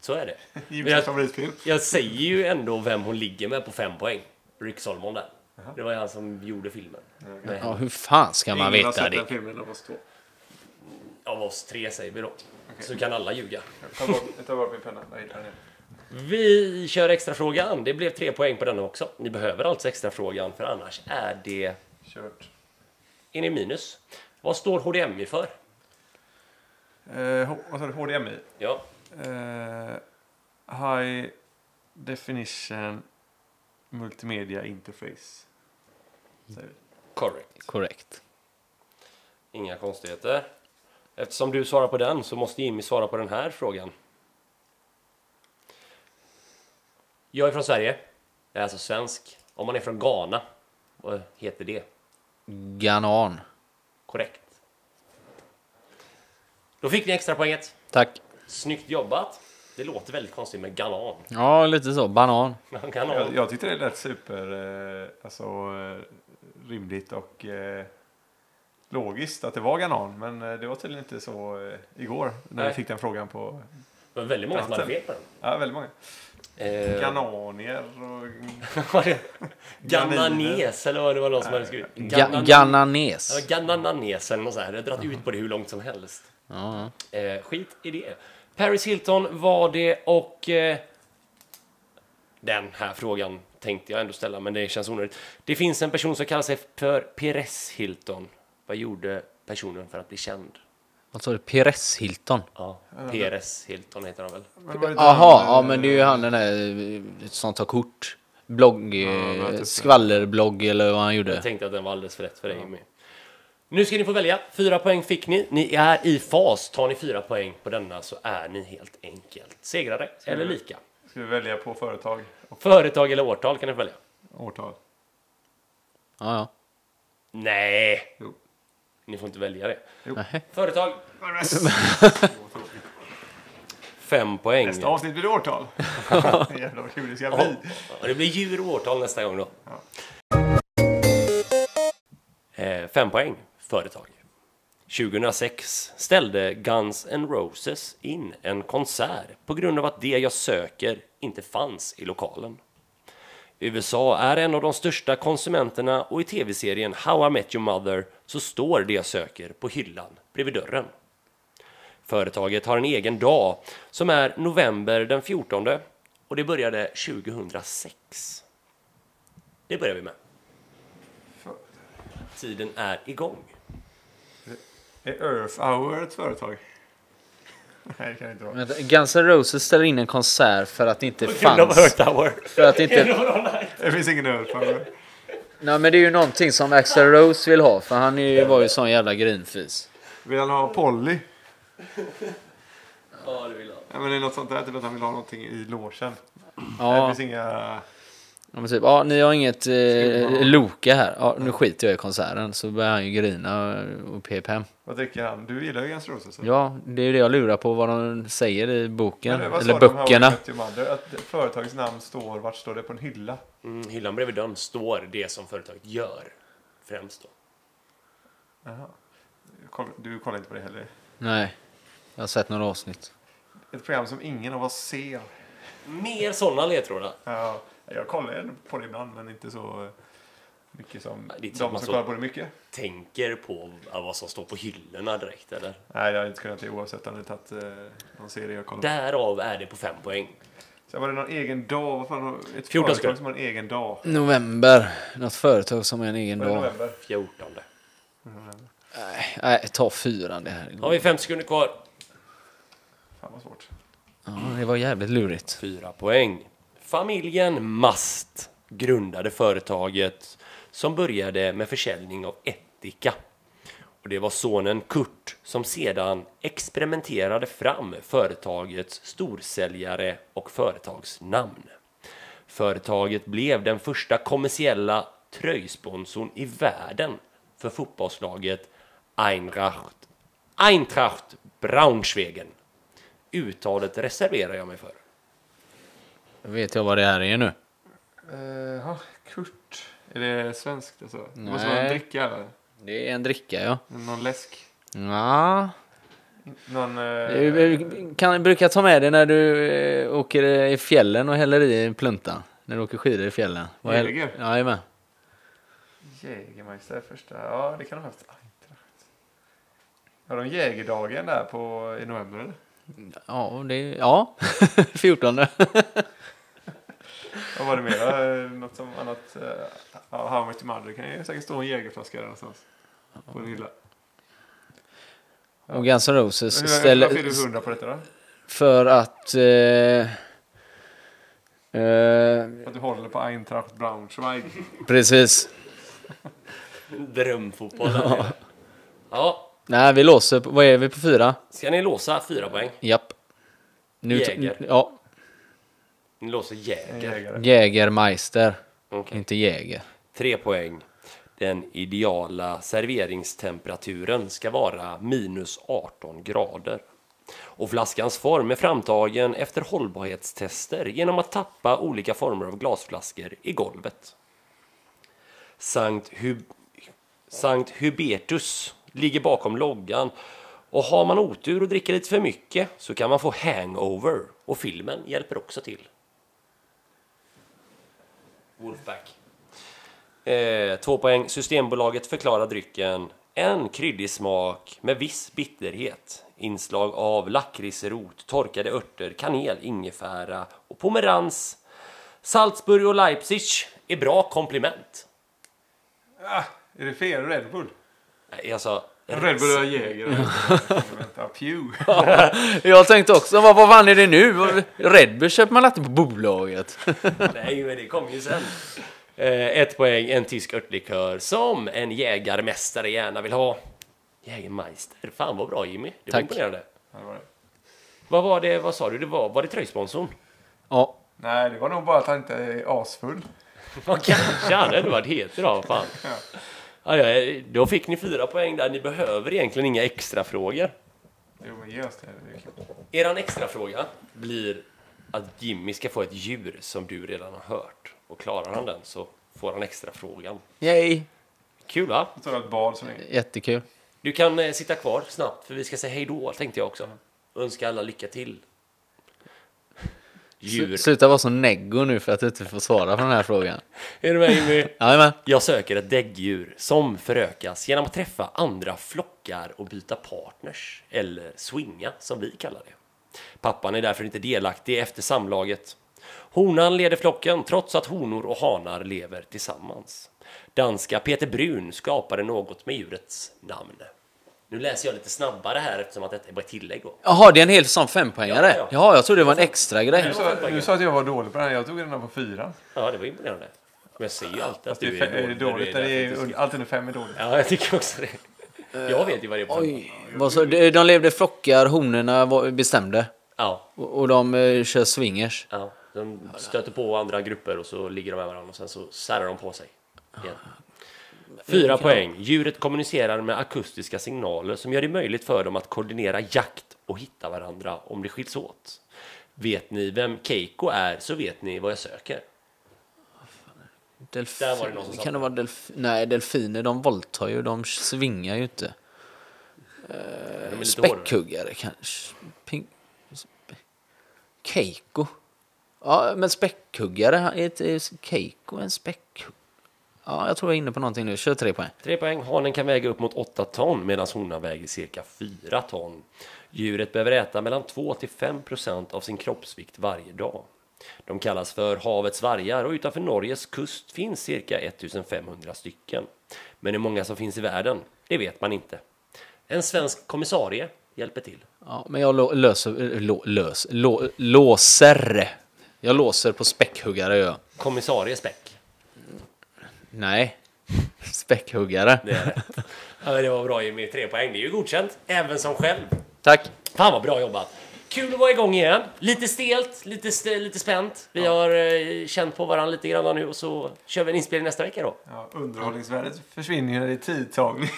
Speaker 1: Så är det. Men
Speaker 2: Jimmys
Speaker 1: jag,
Speaker 2: favoritfilm.
Speaker 1: jag säger ju ändå vem hon ligger med på fem poäng. Rick Solomon där. Det var ju han som gjorde filmen. Med
Speaker 3: Ja,
Speaker 1: henne.
Speaker 3: hur fan ska man
Speaker 2: Ingen har
Speaker 3: veta
Speaker 2: sett den
Speaker 3: det?
Speaker 2: filmen av oss två.
Speaker 1: Av oss tre säger vi då. Så kan alla ljuga.
Speaker 2: Jag tar bort, jag tar bort min penna. Jag hittar den.
Speaker 1: Vi kör extrafrågan. Det blev tre poäng på denna också. Ni behöver alltså extrafrågan för annars är det...
Speaker 2: Kört.
Speaker 1: Är ni minus? Vad står HDMI för?
Speaker 2: Eh, H- vad sa du? HDMI?
Speaker 1: Ja,
Speaker 2: Eh, high Definition Multimedia Interface. Säger vi.
Speaker 1: correct.
Speaker 3: Korrekt.
Speaker 1: Inga konstigheter. Eftersom du svarar på den så måste Jimmy svara på den här frågan. Jag är från Sverige. Jag är alltså svensk. Om man är från Ghana, vad heter det?
Speaker 3: Ganan.
Speaker 1: Korrekt. Då fick ni extra poänget.
Speaker 3: Tack.
Speaker 1: Snyggt jobbat. Det låter väldigt konstigt med galan.
Speaker 3: Ja, lite så. Banan.
Speaker 1: galan.
Speaker 2: Jag, jag tyckte det lät super eh, alltså, eh, rimligt och eh, logiskt att det var Ganon. Men eh, det var tydligen inte så eh, igår när
Speaker 1: Nej.
Speaker 2: vi fick den frågan på
Speaker 1: Det var väldigt många som hade fel på den.
Speaker 2: ja, väldigt många.
Speaker 1: Eh,
Speaker 2: Gananier och...
Speaker 1: var det Gananes eller vad det var någon som hade skrivit.
Speaker 3: Ga-
Speaker 1: Ganan- Ja,
Speaker 3: Gananes.
Speaker 1: Ganananes eller något sånt här. Jag har dragit ut på det hur långt som helst.
Speaker 3: Ja, ja.
Speaker 1: Eh, skit i det. Paris Hilton var det och eh, den här frågan tänkte jag ändå ställa, men det känns onödigt. Det finns en person som kallar sig för Perez Hilton. Vad gjorde personen för att bli känd?
Speaker 3: Vad sa du? Pires Hilton?
Speaker 1: Ja, Perez Hilton heter han väl?
Speaker 2: Men var det inte
Speaker 3: Jaha,
Speaker 2: han,
Speaker 3: ja
Speaker 2: eh,
Speaker 3: men det är ju han den där eh, som tar kort. Blogg, eh,
Speaker 2: men jag tyckte-
Speaker 3: skvallerblogg eller vad han
Speaker 1: Jag
Speaker 3: gjorde.
Speaker 1: tänkte att den var alldeles för lätt för dig Jimmy. Nu ska ni få välja. Fyra poäng fick ni. Ni är i fas. Tar ni fyra poäng på denna så är ni helt enkelt segrare eller lika.
Speaker 2: Ska vi välja på företag och
Speaker 1: Företag eller årtal kan ni välja.
Speaker 2: årtal?
Speaker 3: Ja, ja.
Speaker 1: Nej,
Speaker 2: Jo.
Speaker 1: ni får inte välja det.
Speaker 3: Nähä.
Speaker 1: Företag. Fem poäng.
Speaker 2: Nästa avsnitt blir det årtal. Jävlar vad kul det ska bli.
Speaker 1: Ja, det blir djur och årtal nästa gång då. Eh, fem poäng. Företag. 2006 ställde Guns N' Roses in en konsert på grund av att det jag söker inte fanns i lokalen. USA är en av de största konsumenterna och i tv-serien How I Met Your Mother så står det jag söker på hyllan bredvid dörren. Företaget har en egen dag som är november den 14 och det började 2006. Det börjar vi med. Tiden är igång.
Speaker 2: Är Earth Hour ett företag? Nej, det kan det inte vara.
Speaker 3: Vänta, Guns N' Roses ställer in en konsert för att det inte
Speaker 1: Kul av
Speaker 3: fanns.
Speaker 1: Earth Hour.
Speaker 3: För att det inte...
Speaker 2: Det finns ingen Earth Hour.
Speaker 3: Nej men det är ju någonting som Axl Rose vill ha för han är ju, var ju sån jävla grinfis.
Speaker 2: Vill han ha Polly?
Speaker 1: Ja, det vill jag.
Speaker 2: Ja, men det är något sånt där, typ att han vill ha någonting i logen. Det
Speaker 3: Ja,
Speaker 2: finns inga...
Speaker 3: Ja, men typ, ja, ni har inget eh, Loka här. Ja, nu skiter jag i konserten. Så börjar han ju grina och pep hem.
Speaker 2: Vad dricker han? Du gillar ju Guns Roses. eller?
Speaker 3: Ja, det är ju det jag lurar på vad de säger i boken.
Speaker 2: Men vad sa
Speaker 3: eller
Speaker 2: de här
Speaker 3: böckerna.
Speaker 2: How I Met Your Mother? Att företagets namn står, vart står det? På en hylla?
Speaker 1: Mm, hyllan bredvid dörren står det som företaget gör. Främst då.
Speaker 2: Jaha. Koll- Du kollar inte på det heller?
Speaker 3: Nej, jag har sett några avsnitt.
Speaker 2: Ett program som ingen av oss ser.
Speaker 1: Mer sådana ledtrådar.
Speaker 2: Ja, jag kollar ändå på det ibland, men inte så eh, mycket som
Speaker 1: Det är
Speaker 2: de
Speaker 1: inte så att
Speaker 2: som
Speaker 1: man så-
Speaker 2: kollar på det mycket.
Speaker 1: Tänker på ja, vad som står på hyllorna direkt eller?
Speaker 2: Nej, jag hade inte kunnat det oavsett om det tagit eh, någon serie jag kollar på.
Speaker 1: Därav är det på fem poäng.
Speaker 2: Sen var det någon egen dag. Vad fan, har- ett
Speaker 1: 14
Speaker 2: företag
Speaker 1: sekunder.
Speaker 2: som har en egen dag.
Speaker 3: November. Något företag som har en egen
Speaker 2: Var det
Speaker 3: dag.
Speaker 2: november?
Speaker 1: 14.
Speaker 3: Nej, Nej, ta fyran det här.
Speaker 1: Har vi 50 sekunder kvar?
Speaker 2: Fan vad svårt.
Speaker 3: Ja, det var jävligt lurigt.
Speaker 1: Fyra poäng. Familjen Mast grundade företaget som började med försäljning av ättika. Och det var sonen Kurt som sedan experimenterade fram företagets storsäljare och företagsnamn. Företaget blev den första kommersiella tröjsponsorn i världen för fotbollslaget Eintracht, Eintracht Braunschweigen. Uttalet reserverar jag mig för.
Speaker 3: Då vet jag vad det här är nu.
Speaker 2: Eh, ja, Kurt. Är det svenskt alltså? Det måste vara en
Speaker 3: Nej.
Speaker 2: dricka eller?
Speaker 3: Det är en dricka, ja.
Speaker 2: Någon läsk?
Speaker 3: Ja.
Speaker 2: Någon... eh,
Speaker 3: Du kan, brukar ta med dig när du eh, åker i fjällen och häller i en plunta. När du åker skidor i fjällen. Vad häll-
Speaker 2: Jäger?
Speaker 3: Ja, jajamän.
Speaker 2: Jägermeister första. Ja, det kan de ha haft. Eintracht. Har de jägerdagen där på, i november eller?
Speaker 3: Ja, det är... Ja, 14.
Speaker 2: Vad var det mer? Eh, Något som annat? eh, Ja, How much mother. Det kan ju säkert stå en jägerflaska där någonstans. På en hylla.
Speaker 3: Och Guns N' Roses
Speaker 2: Hur- Varför är
Speaker 3: ställer...
Speaker 2: du hundra på detta då?
Speaker 3: För att... Eh, eh,
Speaker 2: För att du håller på Eintracht Braunschweig.
Speaker 3: precis.
Speaker 1: Drömfotboll. Ja. ja,
Speaker 3: Nej, vi låser... på- Vad är vi på fyra?
Speaker 1: ska ni låsa fyra poäng?
Speaker 3: Japp. Nu,
Speaker 1: Jäger.
Speaker 3: Ja,
Speaker 1: Ni låser
Speaker 2: En
Speaker 1: Jäger.
Speaker 2: jägare.
Speaker 3: Jägermeister.
Speaker 1: Okej.
Speaker 3: Inte Jäger.
Speaker 1: Tre poäng. Den ideala serveringstemperaturen ska vara minus 18 grader. Och flaskans form är framtagen efter hållbarhetstester genom att tappa olika former av glasflaskor i golvet. Sankt, Hub- Sankt Hubertus ligger bakom loggan och har man otur och dricker lite för mycket så kan man få hangover och filmen hjälper också till. Wolfpack. Eh, två poäng. Systembolaget förklarar drycken en kryddig smak med viss bitterhet. Inslag av lakritsrot, torkade örter, kanel, ingefära och pomerans. Salzburg och Leipzig är bra komplement.
Speaker 2: Ah, är det fel? Red Bull?
Speaker 1: Nej, Alltså,
Speaker 2: Red Bull har jägare. Vänta, Pew.
Speaker 3: Jag tänkte också, vad, vad fan är det nu? Red Bull köper man alltid på bolaget.
Speaker 1: nej, men det kom ju sen. Eh, ett poäng. En tysk örtlikör som en jägarmästare gärna vill ha. Jägermeister. Fan vad bra Jimmy. Det var
Speaker 3: Tack.
Speaker 1: imponerande.
Speaker 2: Ja, det var det.
Speaker 1: Vad var det? Vad sa du? Det var, var det tröjsponsorn?
Speaker 3: Ja,
Speaker 2: Nej, det var nog bara att han inte är asfull.
Speaker 1: Ja, kanske han hade varit het idag. Fan. Ja, ja, då fick ni fyra poäng där. Ni behöver egentligen inga extra frågor.
Speaker 2: Jo, men ge oss det. det är
Speaker 1: Er
Speaker 2: kul.
Speaker 1: extra fråga blir att Jimmy ska få ett djur som du redan har hört. Och klarar han den så får han extra frågan.
Speaker 3: yay.
Speaker 1: Kul va?
Speaker 2: Jag tror det var ett bad som är...
Speaker 3: Jättekul.
Speaker 1: Du kan eh, sitta kvar snabbt för vi ska säga hej då tänkte jag också. Önska alla lycka till. Djur.
Speaker 3: Sl- Sluta vara så neggo nu för att du inte får svara på den här frågan.
Speaker 1: Är du med Jimmy?
Speaker 3: Jajamän.
Speaker 1: Jag söker ett däggdjur som förökas genom att träffa andra flockar och byta partners, eller swinga som vi kallar det. Pappan är därför inte delaktig efter samlaget. Honan leder flocken trots att honor och hanar lever tillsammans. Danska Peter Brun skapade något med djurets namn. Nu läser jag lite snabbare här eftersom att detta är bara ett tillägg då.
Speaker 3: Jaha, det är en hel sån fempoängare?
Speaker 1: Ja, ja.
Speaker 3: Ja, jag trodde det var en extra grej.
Speaker 2: Du sa, du sa att jag var dålig på den här. Jag tog den här på fyra.
Speaker 1: Ja, det var imponerande. Men jag säger ju alltid att
Speaker 2: Fast det
Speaker 1: du
Speaker 2: är, fe- är det
Speaker 1: är
Speaker 2: dåligt. när
Speaker 1: därför
Speaker 2: Det
Speaker 1: att du
Speaker 2: är,
Speaker 1: ska-
Speaker 2: allt under fem är dåligt.
Speaker 1: Ja, jag tycker också det. Jag vet ju vad det är på femman.
Speaker 3: Oj. Vad så, de de levde i flockar, honorna var- bestämde.
Speaker 1: Ja,
Speaker 3: Och och de eh, kör swingers.
Speaker 1: ja. De stöter på andra grupper och så ligger de med varandra och sen så särar de på sig. Igen. Fyra poäng. Djuret kommunicerar med akustiska signaler som gör det möjligt för dem att koordinera jakt och hitta varandra om det skiljs åt. Vet ni vem Keiko är så vet ni vad jag söker.
Speaker 3: Delf...
Speaker 1: Där var det någon som
Speaker 3: kan det vara delf... Nej, delfiner de våldtar ju, de svingar ju inte.
Speaker 1: De är lite hårdare.
Speaker 3: Späckhuggare kanske. Ping... spe- Keiko. Ja, men späckhuggare, han- är inte Keiko en späckhuggare? Ja, jag tror jag är inne på någonting nu. Kör tre poäng.
Speaker 1: Tre poäng. Hanen kan väga upp mot 8 ton medan honan väger cirka 4 ton. Djuret behöver äta mellan 2 till 5 procent av sin kroppsvikt varje dag. De kallas för havets vargar och utanför Norges kust finns cirka 1500 stycken. Men hur många som finns i världen, det vet man inte. En svensk kommissarie hjälper till.
Speaker 3: Ja, men jag lo- löser, lo- lös, lo- låser. Jag låser på späckhuggare gör jag.
Speaker 1: Kommissarie Späck.
Speaker 3: Nej, späckhuggare.
Speaker 1: Det är rätt. ja, men det var bra Jimmy, tre poäng. Det är ju godkänt, även som själv.
Speaker 3: Tack.
Speaker 1: Fan vad bra jobbat! Kul att vara igång igen. Lite stelt, lite, st- lite spänt. Vi har eh, känt på varandra lite grann nu och så kör vi en inspelning nästa vecka då.
Speaker 2: Ja, underhållningsvärdet försvinner ju när det är tidtagning.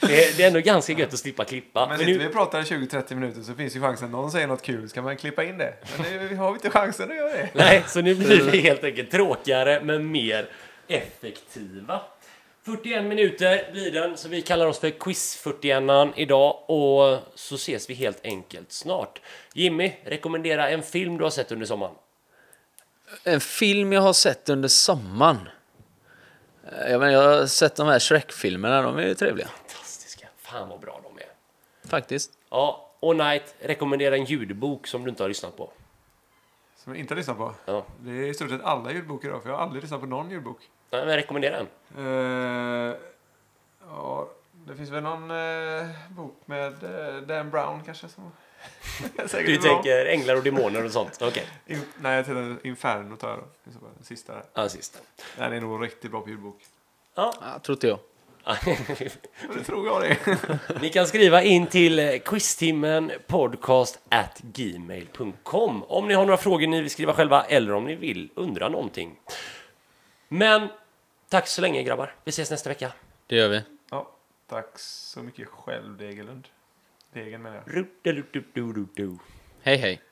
Speaker 1: Det är, det är ändå ganska gött att slippa klippa.
Speaker 2: Men
Speaker 1: Men
Speaker 2: sitter
Speaker 1: nu,
Speaker 2: vi och pratar i 20-30 minuter så finns ju chansen att någon säger något kul. Ska man klippa in det? Men nu har vi inte chansen att göra det.
Speaker 1: nej, så nu blir vi helt enkelt tråkigare men mer effektiva. 41 minuter blir den, så vi kallar oss för Quiz-41 idag och så ses vi helt enkelt snart. Jimmy, rekommendera en film du har sett under sommaren.
Speaker 3: En film jag har sett under sommaren. Eh, Jag, menar, jag har sett de här Shrek-filmerna, de är ju trevliga.
Speaker 1: Fantastiska. Fan vad bra de är.
Speaker 3: Faktiskt.
Speaker 1: Ja, All Night rekommenderar en ljudbok som du inte har lyssnat på.
Speaker 2: Som jag inte har lyssnat på.
Speaker 1: Ja.
Speaker 2: Det är i stort sett alla ljudbok idag, för jag har aldrig lyssnat på någon ljudbok.
Speaker 1: Nej, men rekommendera den.
Speaker 2: Eh, ja, det finns väl någon eh, bok med eh, Dan Brown kanske som... Säkert
Speaker 1: Du
Speaker 2: bra.
Speaker 1: tänker änglar och demoner och sånt? Okej,
Speaker 2: In, nej, jag tittar Inferno tar jag då. Det är så bara Den sista där.
Speaker 1: ja, sist.
Speaker 2: Den är nog riktigt bra på ljudbok.
Speaker 1: Ja.
Speaker 3: Ja, tror inte jag.
Speaker 2: Och det tror jag det.
Speaker 1: Ni kan skriva in till eh, quiztimmen podcast at gmail.com om ni har några frågor ni vill skriva själva eller om ni vill undra någonting. Men tack så länge grabbar. Vi ses nästa vecka.
Speaker 3: Det gör vi.
Speaker 2: ja, tack så mycket själv, Degerlund. Degen menar jag.
Speaker 1: Rudeludududu.
Speaker 3: Hej hej.